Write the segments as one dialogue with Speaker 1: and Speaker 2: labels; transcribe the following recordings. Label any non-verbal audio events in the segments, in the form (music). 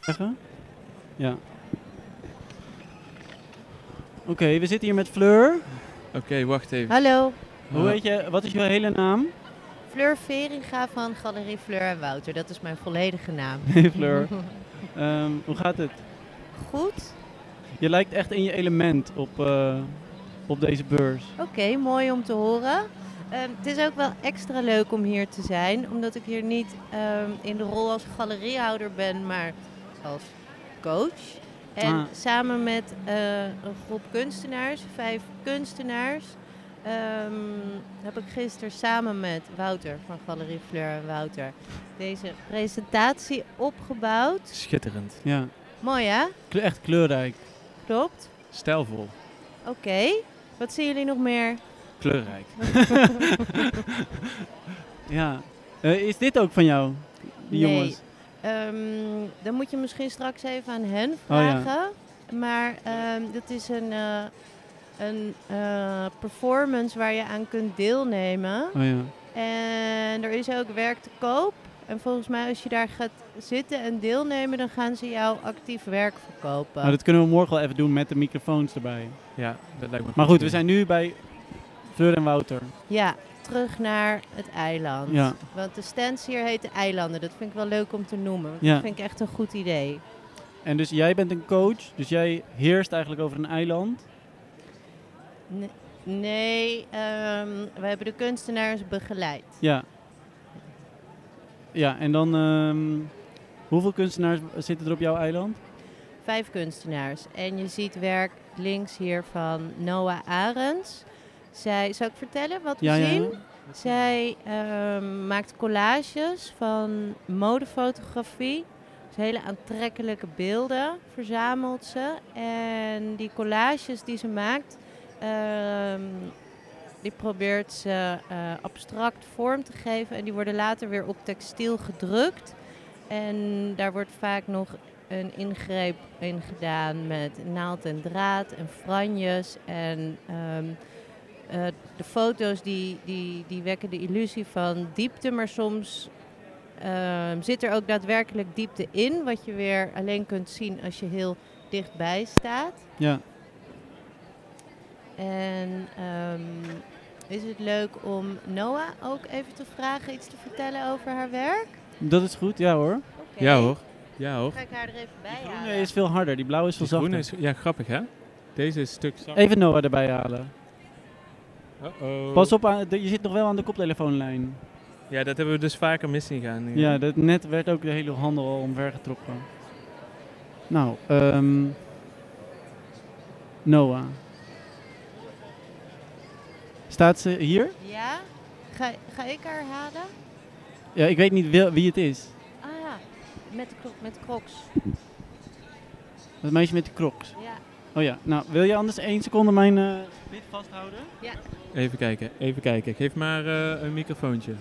Speaker 1: zeggen? Ja. Oké, we zitten hier met Fleur.
Speaker 2: Oké, wacht even.
Speaker 3: Hallo,
Speaker 1: Hoe heet je, wat is je hele naam?
Speaker 3: Fleur Veringa van Galerie Fleur en Wouter. Dat is mijn volledige naam.
Speaker 1: (laughs) Hey Fleur. Ehm, hoe gaat het?
Speaker 3: (laughs) Goed?
Speaker 1: Je lijkt echt in je element op, eh, op deze beurs.
Speaker 3: Oké, mooi om te horen. Ehm, het is ook wel extra leuk om hier te zijn, omdat ik hier niet ehm, in de rol als galeriehouder ben, maar als coach. En
Speaker 1: Ah.
Speaker 3: samen met eh, een groep kunstenaars, vijf kunstenaars, ehm, heb ik gisteren samen met Wouter van Galerie Fleur en Wouter deze presentatie opgebouwd.
Speaker 2: Schitterend.
Speaker 1: Ja,
Speaker 3: Mooi hè?
Speaker 1: Kle- echt kleurrijk.
Speaker 3: Klopt.
Speaker 2: Stijlvol.
Speaker 3: Oké, wat zien jullie nog meer?
Speaker 2: Kleurrijk.
Speaker 1: Ja. Eh, is dit ook van jou, die
Speaker 3: Nee.
Speaker 1: jongens?
Speaker 3: Ehm, dan moet je misschien straks even aan
Speaker 1: Oh,
Speaker 3: hen vragen. Maar ehm, dat is een, eh, een eh, performance waar je aan kunt deelnemen.
Speaker 1: Oh ja.
Speaker 3: En er is ook werk te koop. En volgens mij als je daar gaat zitten en deelnemen, dan gaan ze jou actief werk verkopen.
Speaker 1: Nou, dat kunnen we morgen wel even doen met de microfoons erbij.
Speaker 2: Ja, dat lijkt me
Speaker 1: Maar goed, we
Speaker 2: idee.
Speaker 1: zijn nu bij Fleur en Wouter.
Speaker 3: Ja, terug naar het eiland.
Speaker 1: Ja.
Speaker 3: Want de stands hier heten eilanden. Dat vind ik wel leuk om te noemen. want
Speaker 1: Ja.
Speaker 3: Dat vind ik echt een goed idee.
Speaker 1: En dus jij bent een coach, dus jij heerst eigenlijk over een eiland.
Speaker 3: Ne- Nee, ehm, we hebben de kunstenaars begeleid.
Speaker 1: Ja. Ja, en dan... ehm, hoeveel kunstenaars zitten er op jouw eiland?
Speaker 3: Vijf kunstenaars. En je ziet werk links hier van Noah Arends. Zij, zal ik vertellen wat we
Speaker 1: Ja, ja, ja.
Speaker 3: zien? Zij ehm, maakt collages van modefotografie. Dus hele aantrekkelijke beelden verzamelt ze. En die collages die ze maakt, ehm, die probeert ze eh, abstract vorm te geven. En die worden later weer op textiel gedrukt. En daar wordt vaak nog een ingreep in gedaan met naald en draad en franjes. En ehm, eh, de foto's die, die, die wekken de illusie van diepte, maar soms ehm, zit er ook daadwerkelijk diepte in, wat je weer alleen kunt zien als je heel dichtbij staat.
Speaker 1: Ja.
Speaker 3: En ehm, is het leuk om Noah ook even te vragen iets te vertellen over haar werk?
Speaker 1: Dat is goed, ja hoor.
Speaker 3: Oké.
Speaker 2: Ja hoor. Ja hoor.
Speaker 3: Ga ik haar er even bij
Speaker 1: Die
Speaker 3: halen.
Speaker 1: groene is veel harder, die blauwe is veel
Speaker 2: Die groene
Speaker 1: zachter.
Speaker 2: is, ja, grappig hè? Deze is een stuk zachter.
Speaker 1: Even Noah erbij halen.
Speaker 2: Uh-oh.
Speaker 1: Pas op, aan, de- je zit nog wel aan de koptelefoonlijn.
Speaker 2: Ja, dat hebben we dus vaker mis zien gaan. nu.
Speaker 1: Ja, dat net werd ook de hele handel al omvergetrokken. Nou, ehm Noah. Staat ze hier?
Speaker 3: Ja? Ga, ga ik haar halen?
Speaker 1: Ja, ik weet niet wel- wie het is.
Speaker 3: Ah ja, met de, kro- met de crocs.
Speaker 1: Dat meisje met de crocs.
Speaker 3: Ja.
Speaker 1: Oh ja, nou, wil je anders één seconde mijn eh split vasthouden?
Speaker 2: Even kijken, even kijken. Geef maar eh, een microfoontje.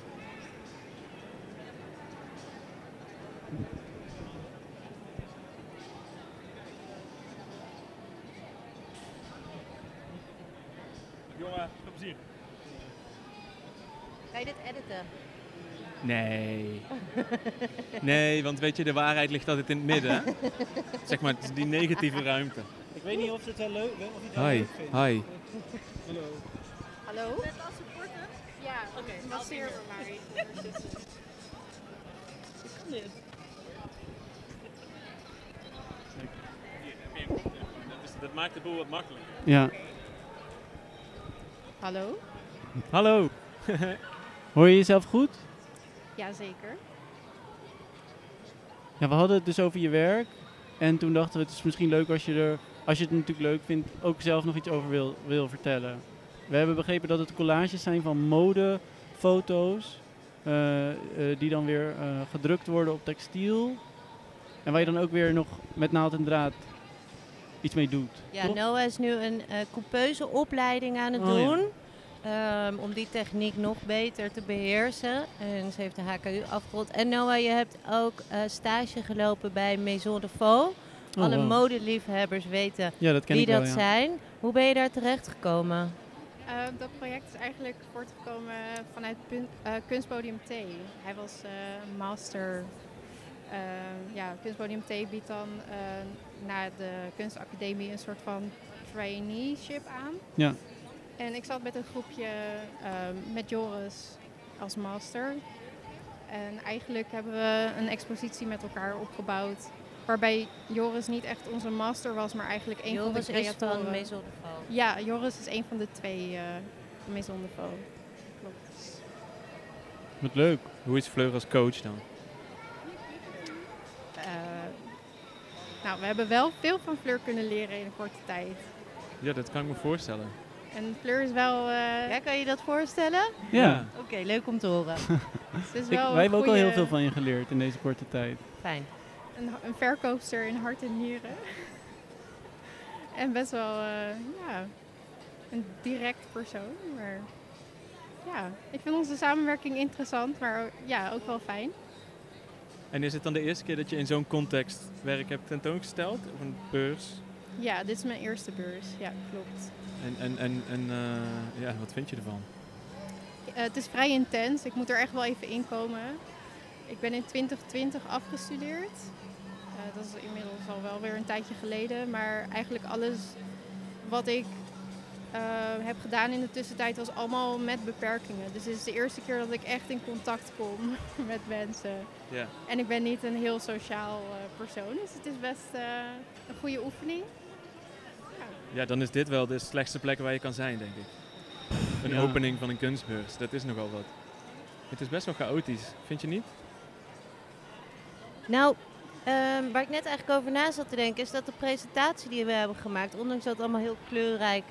Speaker 3: Ga je dit editen? (laughs)
Speaker 2: Nee. Nee, want weet je, de waarheid ligt altijd in het midden. hè? Zeg maar, het is die negatieve ruimte.
Speaker 1: Ik weet niet of het wel leuk of het
Speaker 2: Hi, hi.
Speaker 1: Hallo.
Speaker 3: Hallo?
Speaker 4: Ja, oké. Masseer me maar.
Speaker 2: Dat maakt de boel wat makkelijker.
Speaker 1: Ja,
Speaker 4: Hallo?
Speaker 2: Hallo.
Speaker 1: hoor je jezelf goed?
Speaker 4: Jazeker.
Speaker 1: Ja, we hadden het dus over je werk. En toen dachten we, het is misschien leuk als je er, als je het natuurlijk leuk vindt, ook zelf nog iets over wil, wil vertellen. We hebben begrepen dat het collages zijn van modefoto's. eh, eh, die dan weer eh, gedrukt worden op textiel. En waar je dan ook weer nog met naald en draad iets mee doet.
Speaker 3: Ja, nou,
Speaker 1: toch?
Speaker 3: Noah is nu een eh, coupeuseopleiding opleiding aan het
Speaker 1: Oh, ja.
Speaker 3: doen. ehm, om die techniek nog beter te beheersen. En ze heeft de HKU afgerond. En Noah, je hebt ook eh, stage gelopen bij Maison de Faux.
Speaker 1: Oh,
Speaker 3: Alle
Speaker 1: wauw.
Speaker 3: modeliefhebbers weten
Speaker 1: Ja, dat ken
Speaker 3: wie
Speaker 1: ik wel,
Speaker 3: dat
Speaker 1: ja.
Speaker 3: zijn. Hoe ben je daar terechtgekomen?
Speaker 4: Eh, dat project is eigenlijk voortgekomen vanuit pun- eh, Kunstpodium T. Hij was eh, master eh, ja, Kunstpodium T biedt dan eh, na de kunstacademie een soort van traineeship aan.
Speaker 1: Ja.
Speaker 4: En ik zat met een groepje eh, met Joris als master. En eigenlijk hebben we een expositie met elkaar opgebouwd. Waarbij Joris niet echt onze master was, maar eigenlijk een van
Speaker 3: Joris
Speaker 4: de
Speaker 3: is
Speaker 4: creatoren.
Speaker 3: van eh, Maison de Val.
Speaker 4: Ja, Joris is een van de twee eh Maison de Vaux. Klopt.
Speaker 1: Wat leuk.
Speaker 2: Hoe is Fleur als coach dan?
Speaker 4: Eh, nou, we hebben wel veel van Fleur kunnen leren in een korte tijd.
Speaker 2: Ja, dat kan ik me voorstellen.
Speaker 4: En Fleur is wel... eh,
Speaker 3: Ja, kan je dat voorstellen?
Speaker 1: Ja.
Speaker 3: Oké, leuk om te horen.
Speaker 4: ze is
Speaker 1: Ik-
Speaker 4: wel
Speaker 1: wij hebben ook al heel
Speaker 4: goeie-
Speaker 1: veel van je geleerd in deze korte tijd.
Speaker 3: Fijn.
Speaker 4: een, een verkoopster in hart en nieren. en best wel, eh, ja, een direct persoon. Maar ja, ik vind onze samenwerking interessant, maar o- ja, ook wel fijn.
Speaker 2: En is het dan de eerste keer dat je in zo'n context werk hebt tentoongesteld? Of een beurs?
Speaker 4: Ja, dit is mijn eerste beurs. Ja, klopt.
Speaker 2: En, en, en, en eh, ja, wat vind je ervan?
Speaker 4: Eh, het is vrij intens. Ik moet er echt wel even inkomen. Ik ben in 2020 afgestudeerd. Eh, dat is inmiddels al wel weer een tijdje geleden. Maar eigenlijk alles wat ik eh, heb gedaan in de tussentijd was allemaal met beperkingen. Dus dit is de eerste keer dat ik echt in contact kom (laughs) met mensen.
Speaker 2: Ja.
Speaker 4: En ik ben niet een heel sociaal eh, persoon. Dus het is best eh, een goede oefening.
Speaker 2: ja, dan is dit wel de slechtste plek waar je kan zijn, denk ik. Een
Speaker 1: Ja.
Speaker 2: opening van een kunstbeurs, dat is nogal wat. Het is best wel chaotisch, vind je niet?
Speaker 3: Nou, ehm, waar ik net eigenlijk over na zat te denken, is dat de presentatie die we hebben gemaakt, ondanks dat het allemaal heel kleurrijk,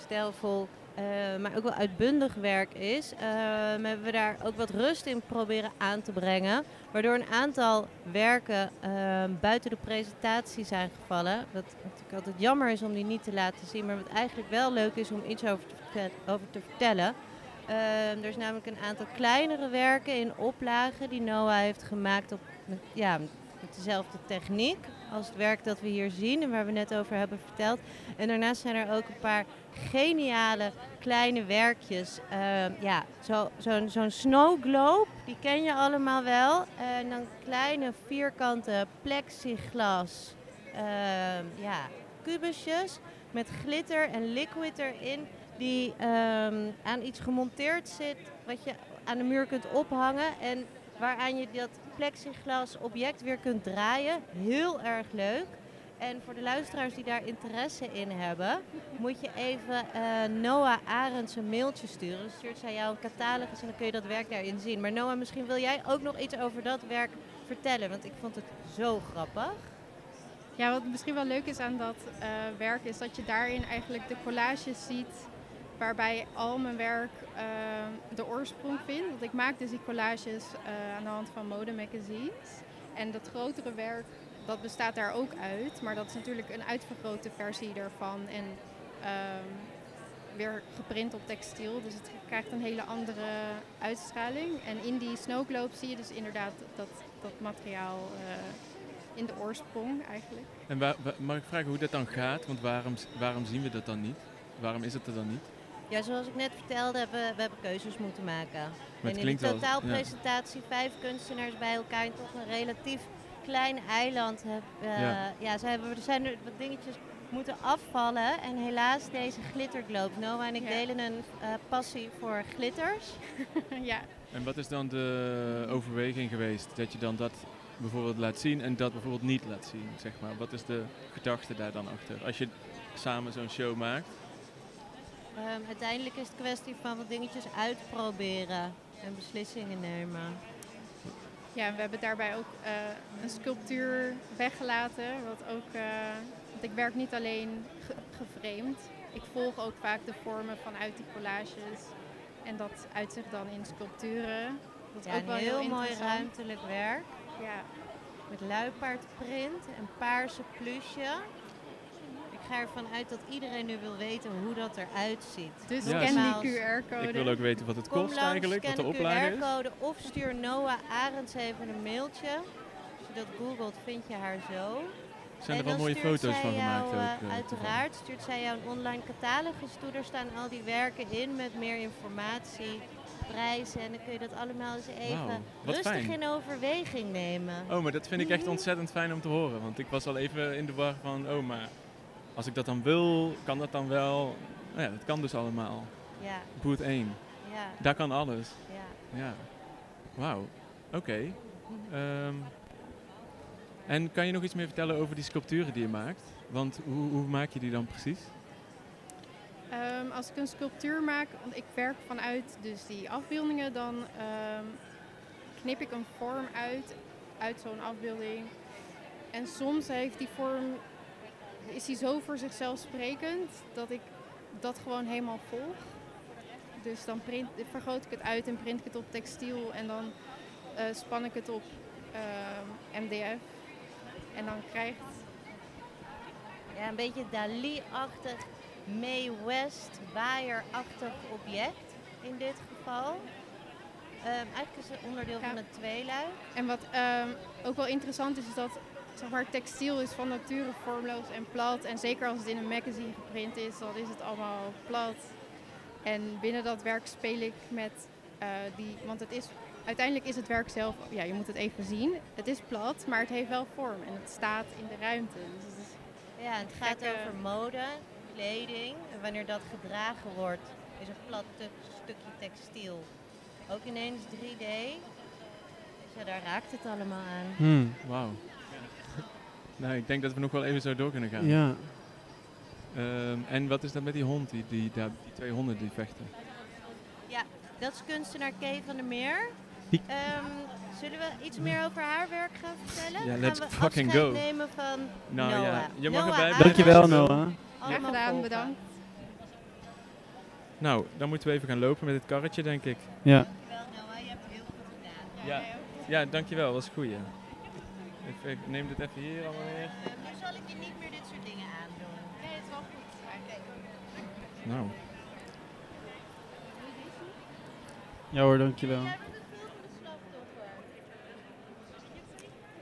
Speaker 3: stijlvol, eh, maar ook wel uitbundig werk is, ehm, hebben we daar ook wat rust in proberen aan te brengen. Waardoor een aantal werken ehm, buiten de presentatie zijn gevallen. Wat natuurlijk altijd jammer is om die niet te laten zien, maar wat eigenlijk wel leuk is om iets over te, vertel- over te vertellen. Ehm, er is namelijk een aantal kleinere werken in oplagen die Noah heeft gemaakt op met, ja, met dezelfde techniek als het werk dat we hier zien en waar we net over hebben verteld. En daarnaast zijn er ook een paar geniale kleine werkjes. Ehm, ja, zo- zo'n zo'n snow globe, die ken je allemaal wel. En dan kleine vierkante plexiglas ehm, ja, kubusjes met glitter en liquid erin. Die ehm, aan iets gemonteerd zit wat je aan de muur kunt ophangen. En waaraan je dat plexiglas object weer kunt draaien. Heel erg leuk. En voor de luisteraars die daar interesse in hebben, moet je even eh, Noah Arends een mailtje sturen. Dan stuurt zij jou een catalogus en dan kun je dat werk daarin zien. Maar Noah, misschien wil jij ook nog iets over dat werk vertellen, want ik vond het zo grappig.
Speaker 4: Ja, wat misschien wel leuk is aan dat eh, werk is dat je daarin eigenlijk de collages ziet waarbij al mijn werk eh, de oorsprong vindt. Want ik maak dus die collages eh, aan de hand van modemagazines. En dat grotere werk, dat bestaat daar ook uit. Maar dat is natuurlijk een uitvergrote versie daarvan. En ehm, weer geprint op textiel. Dus het krijgt een hele andere uitstraling. En in die snowglobe zie je dus inderdaad dat, dat materiaal eh, in de oorsprong eigenlijk.
Speaker 2: En waar, waar- mag ik vragen hoe dat dan gaat? Want waarom, waarom zien we dat dan niet? Waarom is het er dan niet?
Speaker 3: Ja, zoals ik net vertelde, hebben we, we hebben keuzes moeten maken.
Speaker 2: Maar
Speaker 3: en
Speaker 2: het
Speaker 3: in de
Speaker 2: klinkt wel. ja.
Speaker 3: totaalpresentatie vijf kunstenaars bij elkaar en toch een relatief klein eiland. Heb, eh,
Speaker 2: Ja.
Speaker 3: ja, ze hebben, er zijn er wat dingetjes moeten afvallen. En helaas deze glitterglobe. Noah en ik
Speaker 4: Ja.
Speaker 3: delen een eh, passie voor glitters.
Speaker 4: ja.
Speaker 2: En wat is dan de overweging geweest? Dat je dan dat bijvoorbeeld laat zien en dat bijvoorbeeld niet laat zien, zeg maar. Wat is de gedachte daar dan achter? Als je samen zo'n show maakt.
Speaker 3: Ehm, uiteindelijk is het kwestie van wat dingetjes uitproberen en beslissingen nemen.
Speaker 4: ja, we hebben daarbij ook eh, een sculptuur weggelaten. Wat ook, eh, want ik werk niet alleen ge- geframed. Ik volg ook vaak de vormen vanuit die collages. En dat uit zich dan in sculpturen. Dat is
Speaker 3: Ja,
Speaker 4: ook
Speaker 3: een
Speaker 4: wel
Speaker 3: heel, mooi
Speaker 4: interessant.
Speaker 3: ruimtelijk werk.
Speaker 4: Ja.
Speaker 3: Met luipaardprint en paarse plusje. Ik ga ervan uit dat iedereen nu wil weten hoe dat eruit ziet.
Speaker 4: Dus
Speaker 2: Ja,
Speaker 4: scan
Speaker 3: Nogmaals,
Speaker 4: die QR-code.
Speaker 2: Ik wil ook weten wat het
Speaker 3: Kom
Speaker 2: kost
Speaker 3: langs,
Speaker 2: eigenlijk,
Speaker 3: scan
Speaker 2: wat de
Speaker 3: de
Speaker 2: oplage is.
Speaker 3: QR-code of stuur Noah Arends even een mailtje. Als je dat googelt, vind je haar zo.
Speaker 2: Zijn er wel
Speaker 3: en dan
Speaker 2: mooie
Speaker 3: stuurt
Speaker 2: foto's
Speaker 3: zij
Speaker 2: van
Speaker 3: jou,
Speaker 2: gemaakt?
Speaker 3: eh,
Speaker 2: ook, eh,
Speaker 3: uiteraard stuurt zij jou een online catalogus toe. Daar staan al die werken in met meer informatie prijzen. En dan kun je dat allemaal eens even
Speaker 2: Wauw, wat
Speaker 3: rustig
Speaker 2: fijn.
Speaker 3: in overweging nemen.
Speaker 2: Oh, maar dat vind ik
Speaker 3: Mhm.
Speaker 2: echt ontzettend fijn om te horen. Want ik was al even in de war van, oh, maar als ik dat dan wil, kan dat dan wel? Nou ja, dat kan dus allemaal.
Speaker 3: Ja,
Speaker 2: Boot 1,
Speaker 3: ja,
Speaker 2: daar kan alles.
Speaker 3: ja.
Speaker 2: Ja. Wauw. Oké. Ehm, en kan je nog iets meer vertellen over die sculpturen die je maakt? Want hoe, hoe maak je die dan precies?
Speaker 4: Ehm, als ik een sculptuur maak, want ik werk vanuit dus die afbeeldingen, dan ehm, knip ik een vorm uit, uit zo'n afbeelding. En soms heeft die vorm, is die zo voor zichzelf sprekend, dat ik dat gewoon helemaal volg. Dus dan print, vergroot ik het uit en print ik het op textiel en dan eh, span ik het op ehm, MDF. En dan krijgt,
Speaker 3: Ja, een beetje Dali-achtig, May West, waaierachtig object in dit geval. Ehm, eigenlijk is het onderdeel
Speaker 4: Ja.
Speaker 3: van het tweeluik.
Speaker 4: En wat ehm, ook wel interessant is, is dat zeg maar, textiel is van nature vormloos en plat. En zeker als het in een magazine geprint is, dan is het allemaal plat. En binnen dat werk speel ik met eh, die... Want het is, uiteindelijk is het werk zelf... Ja, je moet het even zien. Het is plat, maar het heeft wel vorm. En het staat in de ruimte. Dus het is
Speaker 3: Ja, het gaat
Speaker 4: Gekke-
Speaker 3: over mode, kleding. En wanneer dat gedragen wordt, is een plat tu- stukje textiel. Ook ineens 3D. Dus ja, daar raakt het allemaal aan.
Speaker 1: Hmm.
Speaker 2: Wauw. (laughs) Nou, ik denk dat we nog wel even zo door kunnen gaan.
Speaker 1: Ja.
Speaker 2: Ehm, en wat is dat met die hond, die, die, daar- die twee honden die vechten?
Speaker 3: Dat is kunstenaar Kay van der Meer.
Speaker 1: Die-
Speaker 3: Ehm, zullen we iets meer over haar werk gaan vertellen?
Speaker 2: Ja,
Speaker 3: Gaan
Speaker 2: let's
Speaker 3: we
Speaker 2: fucking
Speaker 3: afscheid
Speaker 2: go.
Speaker 3: nemen van
Speaker 2: Nou ja,
Speaker 3: Noah.
Speaker 2: je mag
Speaker 3: Noah,
Speaker 2: erbij
Speaker 3: Arendt,
Speaker 5: Ah,
Speaker 2: blijven.
Speaker 1: Dankjewel Noah.
Speaker 3: allemaal
Speaker 4: Graag gedaan,
Speaker 3: volgen.
Speaker 4: bedankt.
Speaker 2: Nou, dan moeten we even gaan lopen met dit karretje, denk ik.
Speaker 1: Ja.
Speaker 3: Dankjewel Noah, je hebt het heel goed gedaan. Ehm,
Speaker 2: Ja. Ja, dankjewel, dat is goed. Ja. Ik, ik neem dit even hier allemaal neer.
Speaker 3: Ehm, nu zal ik je niet meer dit soort dingen aandoen.
Speaker 4: Nee, het is wel goed.
Speaker 2: Nou,
Speaker 1: Ja hoor, dankjewel.
Speaker 3: eh.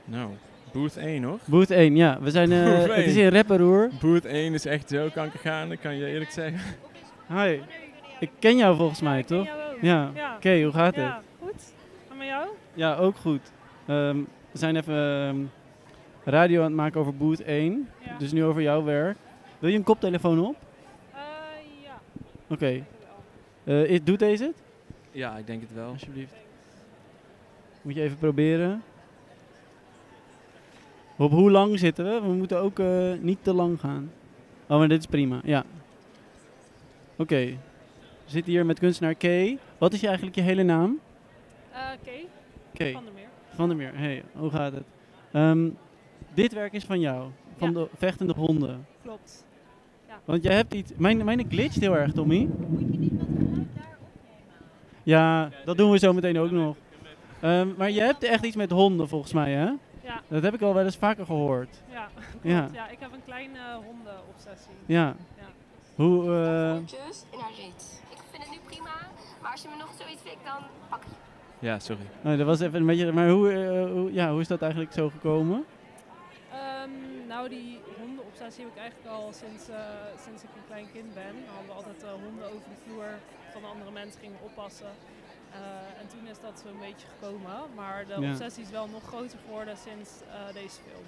Speaker 2: nou. Booth 1 hoor.
Speaker 1: Boot 1, ja. We zijn, eh,
Speaker 2: Boot
Speaker 1: het is
Speaker 2: 1.
Speaker 1: in Rapperoer.
Speaker 2: Booth 1 is echt zo kankergaan, dat kan je eerlijk zeggen.
Speaker 1: Hi. Ik ken jou volgens mij,
Speaker 5: Ik ken
Speaker 1: toch?
Speaker 5: jou ook.
Speaker 1: Ja. Oké,
Speaker 5: Ja.
Speaker 1: hoe gaat het?
Speaker 5: Ja, goed. En met jou?
Speaker 1: Ja, ook goed. Ehm, we zijn even ehm, radio aan het maken over Boot 1.
Speaker 5: Ja.
Speaker 1: Dus nu over jouw werk. Wil je een koptelefoon op?
Speaker 5: Eh, ja.
Speaker 1: Oké. Eh, i- doet deze het?
Speaker 2: Ja, ik denk het wel.
Speaker 1: Alsjeblieft. Moet je even proberen. Op hoe lang zitten we? We moeten ook eh, niet te lang gaan. Oh, maar dit is prima. Ja. Oké. We zitten hier met kunstenaar Kay. Wat is je eigenlijk je hele naam?
Speaker 5: Eh, Oké,
Speaker 1: Kay.
Speaker 5: van der Meer.
Speaker 1: Van der Meer. Hey, hoe gaat het? Ehm, dit werk is van jou. Van
Speaker 5: Ja.
Speaker 1: de vechtende honden.
Speaker 5: Klopt.
Speaker 1: Want jij hebt iets... Mijn, mijn glitcht heel erg, Tommy. Ja, dat doen we zo meteen ook nog. Ehm, maar je hebt echt iets met honden volgens mij, hè?
Speaker 5: Ja.
Speaker 1: Dat heb ik al wel eens vaker gehoord.
Speaker 5: Ja, (laughs) klopt.
Speaker 1: Ja.
Speaker 5: Ja. ik heb een kleine hondenobsessie.
Speaker 1: Ja.
Speaker 5: Ja.
Speaker 1: Hoe, eh,
Speaker 6: Just in haar reet. Ik vind het nu prima, maar als je me nog zoiets vindt, dan pak ik je.
Speaker 2: Ja, sorry.
Speaker 1: nou, dat was even een beetje... Maar hoe, eh, hoe, ja, hoe is dat eigenlijk zo gekomen?
Speaker 5: Ehm, nou, die hondenobsessie heb ik eigenlijk al sinds, eh, sinds ik een klein kind ben. Dan hadden we altijd eh, honden over de vloer van andere mensen gingen oppassen. Eh, en toen is dat zo'n beetje gekomen. Maar de
Speaker 1: Ja.
Speaker 5: obsessie is wel nog groter geworden sinds eh, deze film.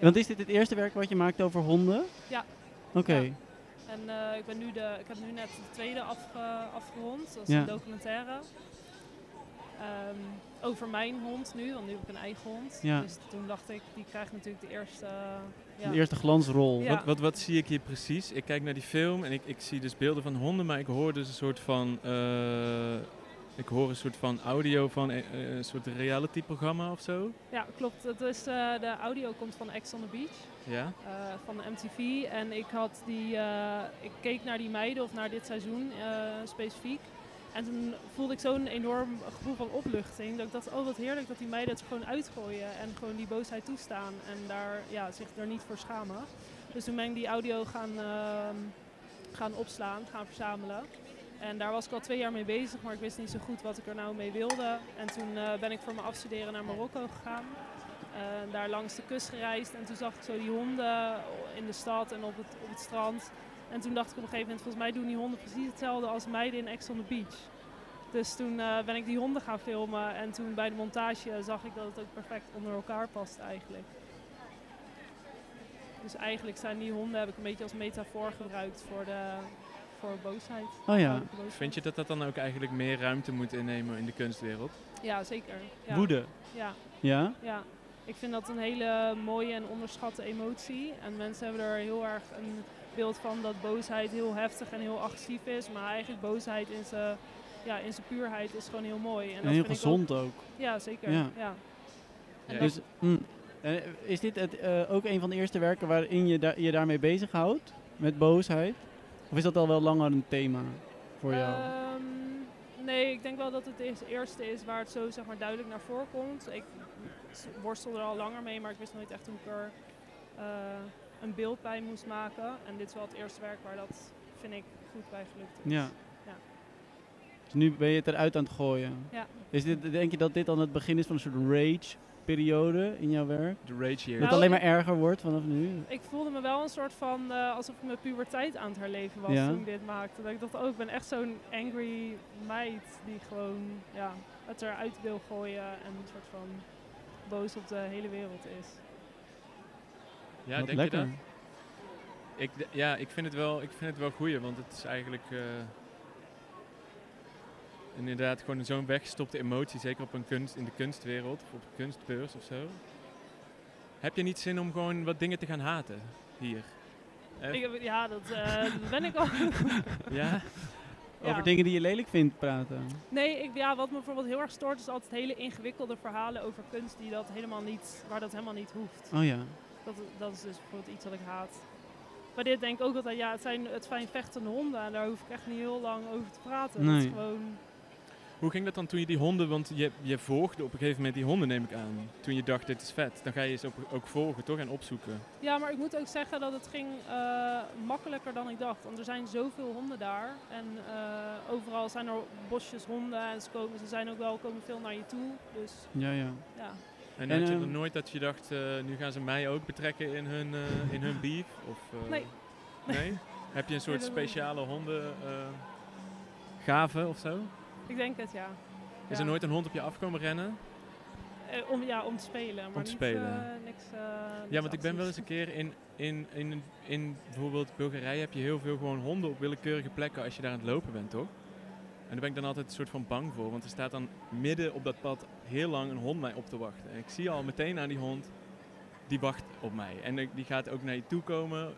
Speaker 1: Want is dit het eerste werk wat je maakt over honden?
Speaker 5: Ja.
Speaker 1: Oké.
Speaker 5: Ja. En eh, ik, ben nu de, ik heb nu net de tweede afge, afgerond, dat is
Speaker 1: Ja.
Speaker 5: een documentaire. Ehm, over mijn hond nu, want nu heb ik een eigen hond.
Speaker 1: Ja.
Speaker 5: Dus toen dacht ik, die krijgt natuurlijk de eerste... ja.
Speaker 1: De eerste glansrol.
Speaker 5: Ja.
Speaker 2: Wat, wat, wat zie ik hier precies? Ik kijk naar die film en ik, ik zie dus beelden van honden, maar ik hoor dus een soort van. eh, ik hoor een soort van audio van eh, eh, een soort reality-programma of zo.
Speaker 5: ja, klopt. Dat is, eh, de audio komt van Ex on the Beach,
Speaker 2: Ja?
Speaker 5: eh, van de MTV. En ik, had die, eh, ik keek naar die meiden, of naar dit seizoen eh, specifiek. En toen voelde ik zo'n enorm gevoel van opluchting. Dat ik dacht, oh wat heerlijk dat die meiden het gewoon uitgooien. En gewoon die boosheid toestaan. En daar, ja, zich er niet voor schamen. Dus toen ben ik die audio gaan, ehm, gaan opslaan, gaan verzamelen. En daar was ik al twee jaar mee bezig, maar ik wist niet zo goed wat ik er nou mee wilde. En toen eh, ben ik voor mijn afstuderen naar Marokko gegaan. Eh, daar langs de kust gereisd. En toen zag ik zo die honden in de stad en op het, op het strand. En toen dacht ik op een gegeven moment, volgens mij doen die honden precies hetzelfde als meiden in Ex on the Beach. Dus toen eh, ben ik die honden gaan filmen en toen bij de montage zag ik dat het ook perfect onder elkaar past eigenlijk. Dus eigenlijk zijn die honden, heb ik een beetje als metafoor gebruikt voor, de, voor boosheid.
Speaker 1: Oh ja,
Speaker 5: Vrouwelijke boosheid.
Speaker 2: Vind je dat dat dan ook eigenlijk meer ruimte moet innemen in de kunstwereld?
Speaker 5: Ja, zeker. Ja.
Speaker 1: woede.
Speaker 5: Ja,
Speaker 1: Ja?
Speaker 5: ja. Ik vind dat een hele mooie en onderschatte emotie. En mensen hebben er heel erg een beeld van dat boosheid heel heftig en heel agressief is. Maar eigenlijk boosheid in zijn ja, in zijn puurheid is gewoon heel mooi.
Speaker 1: En heel
Speaker 5: dat vind ik
Speaker 1: gezond ook.
Speaker 5: ook- ja, zeker.
Speaker 1: Ja.
Speaker 5: ja.
Speaker 2: Ja.
Speaker 1: Dus, hm. En, eh, is dit het, eh, ook een van de eerste werken waarin je da- je daarmee bezighoudt? Met boosheid? Of is dat al wel langer een thema voor jou?
Speaker 5: Ehm, nee, ik denk wel dat het de eerste is waar het zo zeg maar, duidelijk naar voren komt. Ik s- worstel er al langer mee, maar ik wist nooit echt hoe ik er eh, een beeld bij moest maken. En dit is wel het eerste werk waar dat, vind ik, goed bij gelukt is.
Speaker 1: Ja.
Speaker 5: Ja.
Speaker 1: Dus nu ben je het eruit aan het gooien.
Speaker 5: Ja.
Speaker 1: Is dit, denk je dat dit dan het begin is van een soort rage-periode in jouw werk?
Speaker 2: De rage
Speaker 1: Dat
Speaker 5: Nou,
Speaker 2: years.
Speaker 1: het alleen maar erger wordt vanaf nu?
Speaker 5: Ik voelde me wel een soort van eh, alsof ik mijn puberteit aan het herleven was
Speaker 1: Ja.
Speaker 5: toen ik dit maakte. Dat ik dacht, oh, ik ben echt zo'n angry meid die gewoon ja, het eruit wil gooien en een soort van boos op de hele wereld is.
Speaker 2: Ja,
Speaker 1: Wat
Speaker 2: denk
Speaker 1: lekker.
Speaker 2: je dat? Ik, d- ja, ik vind het wel, ik vind het wel goeie, want het is eigenlijk eh, inderdaad gewoon zo'n weggestopte emotie, zeker op een kunst, in de kunstwereld of op een kunstbeurs of zo. Heb je niet zin om gewoon wat dingen te gaan haten hier? Hè?
Speaker 5: Ik heb- ja, dat eh, (laughs) ben ik al.
Speaker 2: Ja?
Speaker 5: Ja.
Speaker 1: Over dingen die je lelijk vindt praten.
Speaker 5: Nee, ik, ja, wat me bijvoorbeeld heel erg stoort is altijd hele ingewikkelde verhalen over kunst die dat helemaal niet, waar dat helemaal niet hoeft.
Speaker 1: Oh ja.
Speaker 5: Dat, dat is dus bijvoorbeeld iets wat ik haat. Maar dit denk ik ook altijd, ja, het zijn, het zijn vechtende honden en daar hoef ik echt niet heel lang over te praten. Dat is
Speaker 1: Nee.
Speaker 5: gewoon,
Speaker 2: Hoe ging dat dan toen je die honden, want je, je volgde op een gegeven moment die honden neem ik aan. Toen je dacht dit is vet, dan ga je ze ook, ook volgen toch en opzoeken.
Speaker 5: ja, maar ik moet ook zeggen dat het ging eh, makkelijker dan ik dacht. Want er zijn zoveel honden daar en eh, overal zijn er bosjes honden en ze, komen, ze zijn ook wel, komen veel naar je toe. Dus
Speaker 1: Ja, ja.
Speaker 5: ja.
Speaker 2: En,
Speaker 1: En,
Speaker 2: had je
Speaker 1: ehm,
Speaker 2: er nooit dat je dacht, eh, nu gaan ze mij ook betrekken in hun, eh, in hun beef? Of, eh,
Speaker 5: Nee.
Speaker 2: nee? Heb je een soort
Speaker 5: Nee, dat-
Speaker 2: speciale honden eh gave of zo?
Speaker 5: Ik denk het, ja.
Speaker 2: Is er
Speaker 5: Ja.
Speaker 2: nooit een hond op je af komen rennen?
Speaker 5: Eh, om, ja, om te spelen. Maar
Speaker 2: Om te
Speaker 5: niet,
Speaker 2: spelen.
Speaker 5: eh, niks, eh,
Speaker 2: Ja,
Speaker 5: niks
Speaker 2: want ik ben wel eens
Speaker 5: actiefs.
Speaker 2: een keer in, in, in, in bijvoorbeeld Bulgarije heb je heel veel gewoon honden op willekeurige plekken als je daar aan het lopen bent, toch? En daar ben ik dan altijd een soort van bang voor, want er staat dan midden op dat pad heel lang een hond mij op te wachten. En ik zie al meteen aan die hond, die wacht op mij. En ik- die gaat ook naar je toe komen,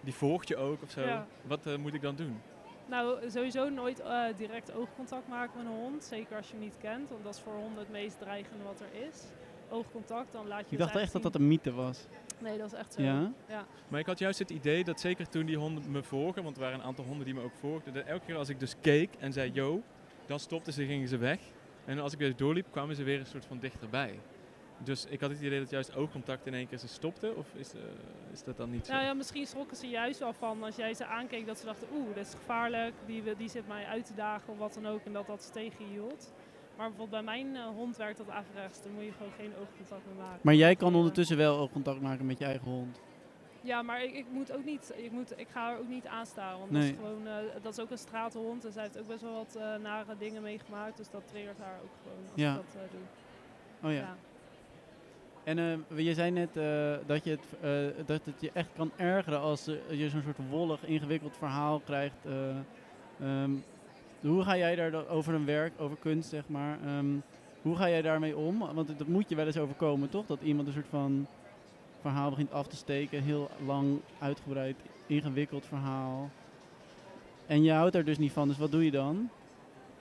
Speaker 2: die volgt je ook of zo.
Speaker 5: Ja.
Speaker 2: Wat eh, moet ik dan doen?
Speaker 5: Nou, sowieso nooit eh, direct oogcontact maken met een hond. Zeker als je hem niet kent, want dat is voor honden het meest dreigende wat er is. Oogcontact, dan laat je
Speaker 1: Ik
Speaker 5: het
Speaker 1: dacht echt dat dat een mythe was.
Speaker 5: zien. Nee, dat is echt zo.
Speaker 1: Ja?
Speaker 2: Maar ik had juist het idee dat zeker toen die honden me volgen, want er waren een aantal honden die me ook volgden, dat elke keer als ik dus keek en zei yo, dan stopten ze, gingen ze weg. En als ik weer doorliep, kwamen ze weer een soort van dichterbij. Dus ik had het idee dat juist oogcontact in één keer ze stopte, of is, eh, is dat dan niet zo?
Speaker 5: Nou ja, misschien schrokken ze juist wel van als jij ze aankeek dat ze dachten, oeh, dat is gevaarlijk, die, wil- die zit mij uit te dagen of wat dan ook. En dat dat ze tegenhield. Maar bijvoorbeeld bij mijn eh, hond werkt dat averechts. Dan moet je gewoon geen oogcontact meer maken.
Speaker 1: Maar jij kan
Speaker 5: Ja.
Speaker 1: ondertussen wel ook contact maken met je eigen hond.
Speaker 5: Ja, maar ik, ik moet ook niet, ik, moet, ik ga er ook niet aan staan. Want dat,
Speaker 1: Nee.
Speaker 5: is gewoon, eh, dat is ook een straathond. En zij heeft ook best wel wat eh, nare dingen meegemaakt. Dus dat triggert haar ook gewoon als
Speaker 1: Ja.
Speaker 5: ik dat eh, doe.
Speaker 1: Oh ja. En eh, je zei net eh, dat, je het, eh, dat het je echt kan ergeren als eh, je zo'n soort wollig, ingewikkeld verhaal krijgt. eh, ehm, hoe ga jij daar dan over een werk, over kunst zeg maar, ehm, hoe ga jij daarmee om? Want het- dat moet je wel eens overkomen toch? Dat iemand een soort van verhaal begint af te steken, heel lang, uitgebreid, ingewikkeld verhaal. En je houdt er dus niet van, dus wat doe je dan?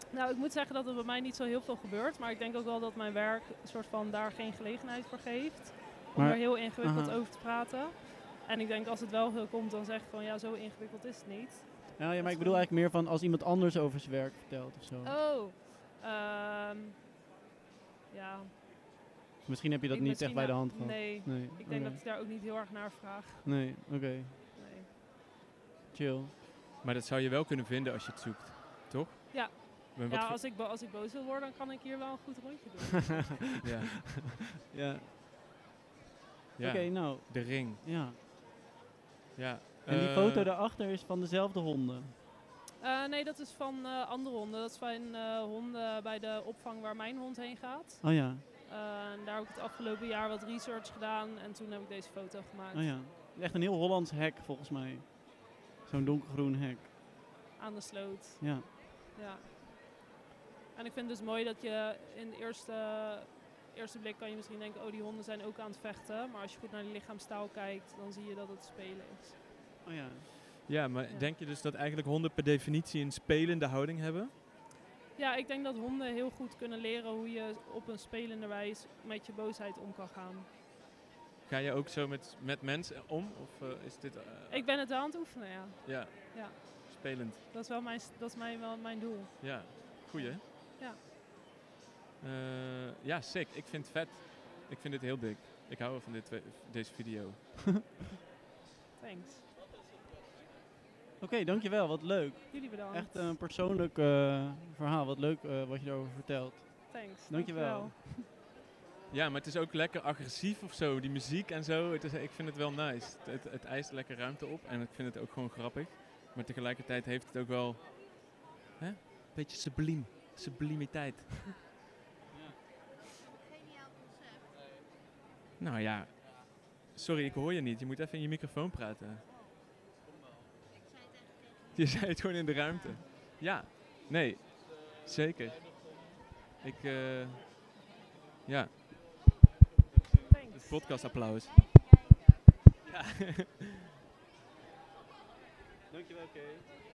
Speaker 5: Nou, ik moet zeggen dat er bij mij niet zo heel veel gebeurt. Maar ik denk ook wel dat mijn werk een soort van daar geen gelegenheid voor geeft. Om
Speaker 1: Maar-
Speaker 5: er heel ingewikkeld
Speaker 1: aha.
Speaker 5: over te praten. En ik denk als het wel heel komt, dan zeg ik gewoon ja, zo ingewikkeld is het niet.
Speaker 1: Nou ja, maar ik bedoel eigenlijk meer van als iemand anders over zijn werk vertelt of zo.
Speaker 5: Oh. Ehm, ja.
Speaker 1: Misschien heb je dat
Speaker 5: Ik
Speaker 1: niet echt
Speaker 5: misschien
Speaker 1: bij de
Speaker 5: wel-
Speaker 1: hand gehad.
Speaker 5: Nee.
Speaker 1: Nee,
Speaker 5: Ik
Speaker 1: oké.
Speaker 5: denk dat ik daar ook niet heel erg naar vraag.
Speaker 1: Nee, oké.
Speaker 5: Nee.
Speaker 1: Chill. (laughs)
Speaker 2: Maar dat zou je wel kunnen vinden als je het zoekt, toch?
Speaker 5: Ja.
Speaker 2: Maar wat
Speaker 5: Ja,
Speaker 2: voor-
Speaker 5: als ik, bo- als ik boos wil worden, dan kan ik hier wel een goed rondje doen. (laughs)
Speaker 2: ja.
Speaker 1: Ja.
Speaker 2: Ja,
Speaker 1: Oké, nou,
Speaker 2: de ring.
Speaker 1: ja. Eh.
Speaker 2: Ja.
Speaker 1: En die
Speaker 2: Eh,
Speaker 1: foto daarachter is van dezelfde honden.
Speaker 5: Eh, Eh, nee, dat is van eh, andere honden. Dat is van eh, honden bij de opvang waar mijn hond heen gaat.
Speaker 1: Oh ja,
Speaker 5: Eh, en daar heb ik het afgelopen jaar wat research gedaan en toen heb ik deze foto gemaakt
Speaker 1: oh ja. Echt een heel Hollands hek volgens mij. Zo'n donkergroen hek.
Speaker 5: aan de sloot.
Speaker 1: Ja.
Speaker 5: Ja. En ik vind het dus mooi dat je in de eerste, eerste blik kan je misschien denken, oh die honden zijn ook aan het vechten. Maar als je goed naar de lichaamstaal kijkt, dan zie je dat het spelen is.
Speaker 1: Oh ja.
Speaker 2: Ja, maar
Speaker 5: Ja.
Speaker 2: denk je dus dat eigenlijk honden per definitie een spelende houding hebben?
Speaker 5: Ja, ik denk dat honden heel goed kunnen leren hoe je op een spelende wijze met je boosheid om kan gaan.
Speaker 2: Ga je ook zo met, met mensen om? Of eh, is dit... eh,
Speaker 5: Ik ben het wel aan het oefenen, ja.
Speaker 2: Ja,
Speaker 5: Ja.
Speaker 2: spelend.
Speaker 5: Dat is wel mijn, s- dat is mijn, wel mijn doel.
Speaker 2: Ja, goeie. hè?
Speaker 5: Ja.
Speaker 2: Eh, ja, sick. Ik vind het vet. Ik vind dit heel dik. Ik hou wel van dit, we- deze video.
Speaker 5: Thanks.
Speaker 1: Oké, dankjewel. Wat leuk.
Speaker 5: Jullie bedankt.
Speaker 1: Echt een persoonlijk eh, verhaal. Wat leuk eh, wat je daarover vertelt.
Speaker 5: Thanks.
Speaker 1: Dankjewel.
Speaker 2: Ja, maar het is ook lekker agressief of zo. Die muziek en zo. Het is, ik vind het wel nice. Het, het, het eist lekker ruimte op. En ik vind het ook gewoon grappig. Maar tegelijkertijd heeft het ook wel... Hè? Beetje subliem. (laughs) Sublimiteit.
Speaker 6: Geniaal concept.
Speaker 2: Nou ja. Sorry, ik hoor je niet. Je moet even in je microfoon praten. Oh. Je zei het gewoon in de ruimte. Ja, nee, zeker. Ik, eh, ja,
Speaker 5: Thanks.
Speaker 2: het podcastapplaus. Ja.
Speaker 1: Dankjewel, Kay.